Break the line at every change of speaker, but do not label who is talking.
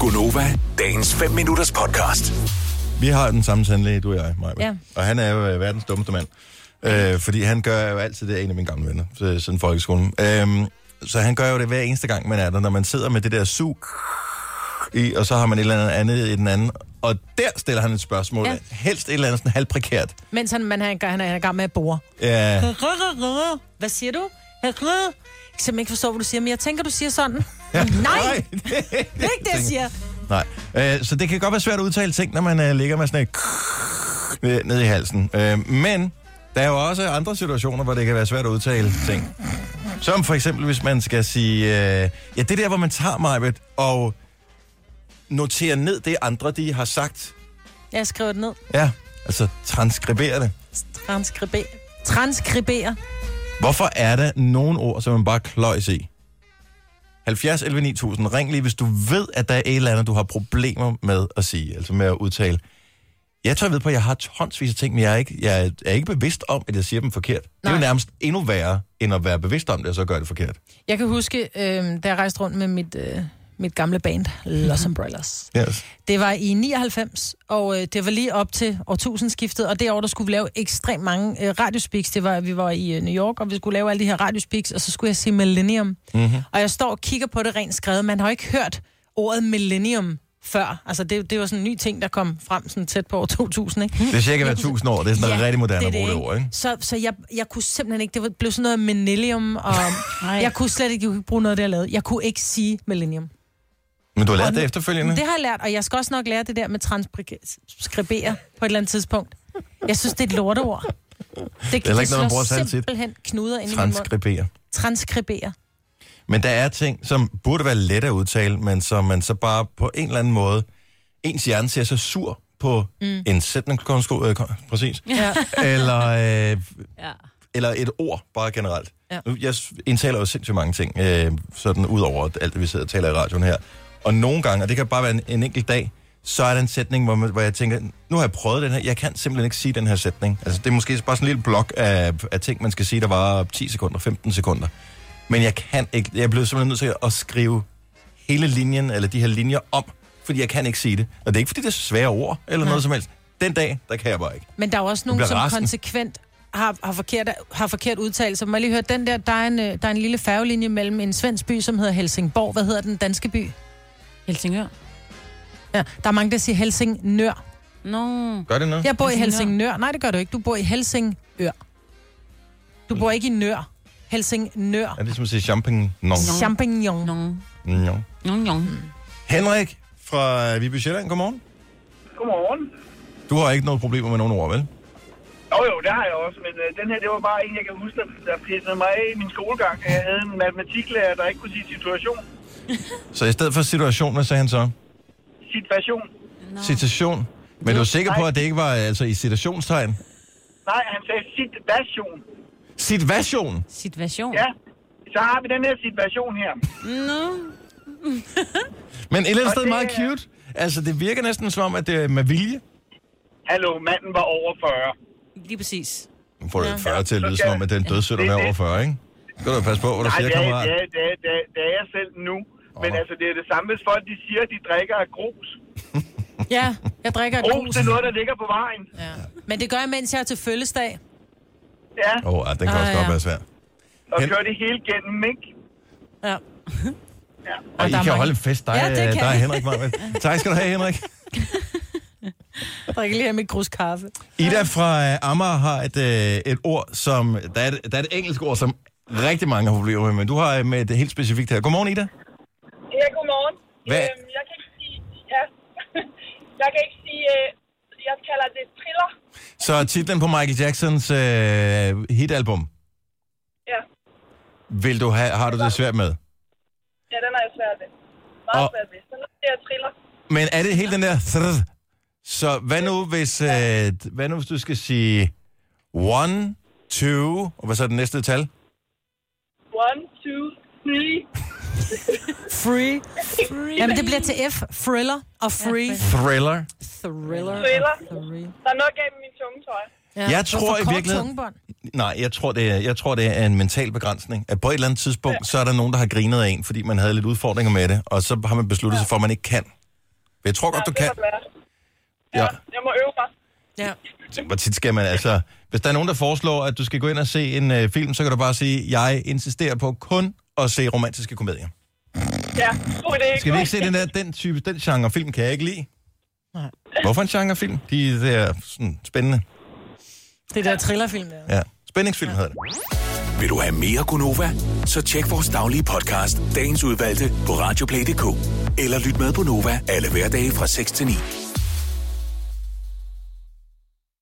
Gunova, dagens 5 minutters podcast.
Vi har den samme tandlæge, du og jeg, Maja.
Ja.
Og han er jo øh, verdens dummeste mand. Øh, fordi han gør jo altid det, er en af mine gamle venner, så- siden folkeskolen. Øh, så han gør jo det hver eneste gang, man er der, når man sidder med det der sug i, og så har man et eller andet andet i den anden. Og der stiller han et spørgsmål. Ja.
Ja.
Helst et eller andet sådan halvprekært.
Mens han, man, han, han, er, han er i gang med at bore.
Ja,
Hvad siger du? Jeg kan simpelthen ikke forstå, hvad du siger, men jeg tænker, du siger sådan.
Ja.
Nej, det er ikke det, jeg siger.
Nej. Øh, så det kan godt være svært at udtale ting, når man øh, ligger med sådan et ned- ned i halsen. Øh, men der er jo også andre situationer, hvor det kan være svært at udtale ting. Som for eksempel, hvis man skal sige... Øh, ja, det der, hvor man tager mig og noterer ned det, andre de har sagt.
Jeg skriver det ned.
Ja, altså transkriberer det.
Transkriber. Transkriber.
Hvorfor er der nogle ord, som man bare kløjs i? 70 11 9000. Ring lige, hvis du ved, at der er et eller andet, du har problemer med at sige, altså med at udtale. Jeg tror, jeg ved på, at jeg har tonsvis af ting, men jeg er ikke, jeg er ikke bevidst om, at jeg siger dem forkert. Nej. Det er jo
Nej.
nærmest endnu værre, end at være bevidst om det, og så gøre det forkert.
Jeg kan huske, øh, da jeg rejste rundt med mit, øh, mit gamle band, Los Umbrellas.
Yes.
Det var i 99, og øh, det var lige op til årtusindskiftet, og det år, der skulle vi lave ekstremt mange øh, radiospeaks. Det var, vi var i øh, New York, og vi skulle lave alle de her radiospeaks, og så skulle jeg sige Millennium.
Mhm.
Mm-hmm. Og jeg står og kigger på det rent skrevet. Man har jo ikke hørt ordet Millennium før. Altså, det, det var sådan en ny ting, der kom frem sådan tæt på år 2000, ikke?
Det er cirka hver 1000 år. Det er sådan noget rigtig moderne
det
det,
er
det, at bruge det
ikke?
ord, ikke?
Så, så jeg, jeg kunne simpelthen ikke, det var- blev sådan noget millennium, og
Ej.
jeg kunne slet ikke, jeg kunne ikke bruge noget, af det jeg lavede. Jeg kunne ikke sige millennium.
Men du har lært
Og
det
nu-
efterfølgende.
Det har jeg lært, og jeg skal også nok lære det der med transkribere på et eller andet tidspunkt. Jeg synes, det er et lorteord. Det,
heller ikke noget, man bruger særlig
særligt
tit.
simpelthen knuder ind i min mund.
Transkribere.
Transkribere.
Men der er ting, som burde være let at udtale, men som man så bare på en eller anden måde, ens hjerne ser så sur på mm. en sætningskonstruktion, øh, kon- præcis,
Ja.
eller, øh,
Ja.
eller et ord bare generelt. Ja.
Ja.
Nu, jeg s- indtaler jo sindssygt mange ting, øh, sådan ud over alt det, vi sidder og taler i radioen her. Og nogle gange, og det kan bare være en, en enkelt dag, så er der en sætning, hvor, man, hvor jeg tænker, nu har jeg prøvet den her, jeg kan simpelthen ikke sige den her sætning. Altså, det er måske bare sådan en lille blok af, af ting, man skal sige, der var 10 sekunder, 15 sekunder. Men jeg kan ikke, jeg er blevet simpelthen nødt til at skrive hele linjen, eller de her linjer om, fordi jeg kan ikke sige det. Og det er ikke, fordi det er svære ord, eller
Nej.
noget som helst. Den dag, der kan jeg bare ikke.
Men der er jo også nogen,
bliver
som
rasende.
konsekvent har, har, forkert, har forkert udtalelse. Må jeg lige høre, den der, der er en, øh, der er en lille færgelinje mellem en svensk by, som hedder Helsingborg. Hvad hedder den danske by?
Helsingør.
Ja, der er mange, der siger Helsingør.
Nå. No.
Gør det noget?
Jeg bor i
Helsingør.
Helsingør. Nej, det gør du ikke. Du bor i Helsingør. Du bor ikke i Nør. Helsingør.
Er det som at sige champagne? No.
Champignon.
Nå.
No.
Nå, nå.
Henrik fra Viby Sjælland, godmorgen.
Godmorgen.
Du har ikke noget problemer med nogen ord, vel?
Jo jo, det har jeg også, men øh, den her, det var bare en, jeg kan huske, der, der pissede mig af i min skolegang. Jeg havde en matematiklærer, der ikke kunne sige situation.
Så i stedet for situation, hvad sagde han så?
Situation.
Nå.
Citation. Men du er sikker på, at det ikke var altså i citationstegn?
Nej, han sagde situation.
Situation.
Situation.
Ja, så har vi den her situation her.
Nå.
Men et eller andet
Og
sted
det
meget
er-
cute. Altså, det virker næsten som om, at det er med vilje.
Hallo, manden var over 40.
Lige præcis.
Nu får du ja. 40 til at lyde
Så skal-
som om, at det er en dødsøt at
Det er
være
det.
over 40, ikke? Skal du passe på, hvad du
Nej,
siger,
det er,
kammerat?
det, er, det, er, det, er, det er jeg selv nu. Men
Åh.
altså, det er det samme, hvis folk de siger, at de drikker af grus.
Ja, jeg drikker et
Grus,
grus.
det er noget, der ligger på vejen.
Ja. Men det gør jeg, mens jeg er til fødselsdag.
Ja,
Åh, oh, den kan
Ah,
også godt
ja.
være svær.
og
Hel-
kører det hele gennem, ikke?
Ja.
Ja.
Og I
der er
kan
mange-
holde en fest, dig,
Ja, det
øh,
kan
dig og
vi.
Henrik. Marvind. Tak skal du have, Henrik.
Jeg drikker lige af mit grus kaffe.
Ida fra øh, Amager har et, øh, et ord, som... Der er et, der er et engelsk ord, som rigtig mange har problemer med, men du har øh, med et helt specifikt her. Godmorgen, Ida.
Ja, godmorgen.
Hvad?
Øhm, jeg kan ikke sige... Ja. jeg kan ikke sige... Øh, jeg kalder det triller.
Så titlen på Michael Jacksons øh, hitalbum,
Ja.
vil du have, har du det svært med?
ja, den er jeg svært ved. Meget
Og-
og... svært ved. Den er jeg triller.
Men er det hele den der... thrrr? Så hvad nu, hvis, øh, hvad nu, hvis du skal sige... One, two... Og hvad så er det næste tal?
One, two, three.
Free. Jamen, det bliver til F. Thriller og free.
Thriller.
Thriller.
Thriller.
Thriller.
Der er nok af min tunge tøj.
Ja.
Jeg tror
Hvorfor
i
kort
virkeligheden-
tungebånd?
Nej, jeg tror, det er, jeg tror, det er en mental begrænsning. At på et eller andet tidspunkt, så er der nogen, der har grinet af en, fordi man havde lidt udfordringer med det, og så har man besluttet sig for, at man ikke kan. Men jeg tror godt, du
det
kan.
må være.
Ja.
Jeg må øve mig.
Ja.
Hvor tit skal man altså... Hvis der er nogen, der foreslår, at du skal gå ind og se en øh, film, så kan du bare sige, jeg insisterer på kun at se romantiske komedier.
Ja, god idé.
Skal vi ikke se den der, den type, den genre film kan jeg ikke lide?
Nej.
Hvorfor en genre film? De der sådan spændende.
Det der thrillerfilm der.
Ja. Spændingsfilm hedder det.
Vil du have mere Gunova? Så tjek vores daglige podcast, dagens udvalgte, på radioplay.dk. Eller lyt med på Nova alle hverdage fra 6 til 9.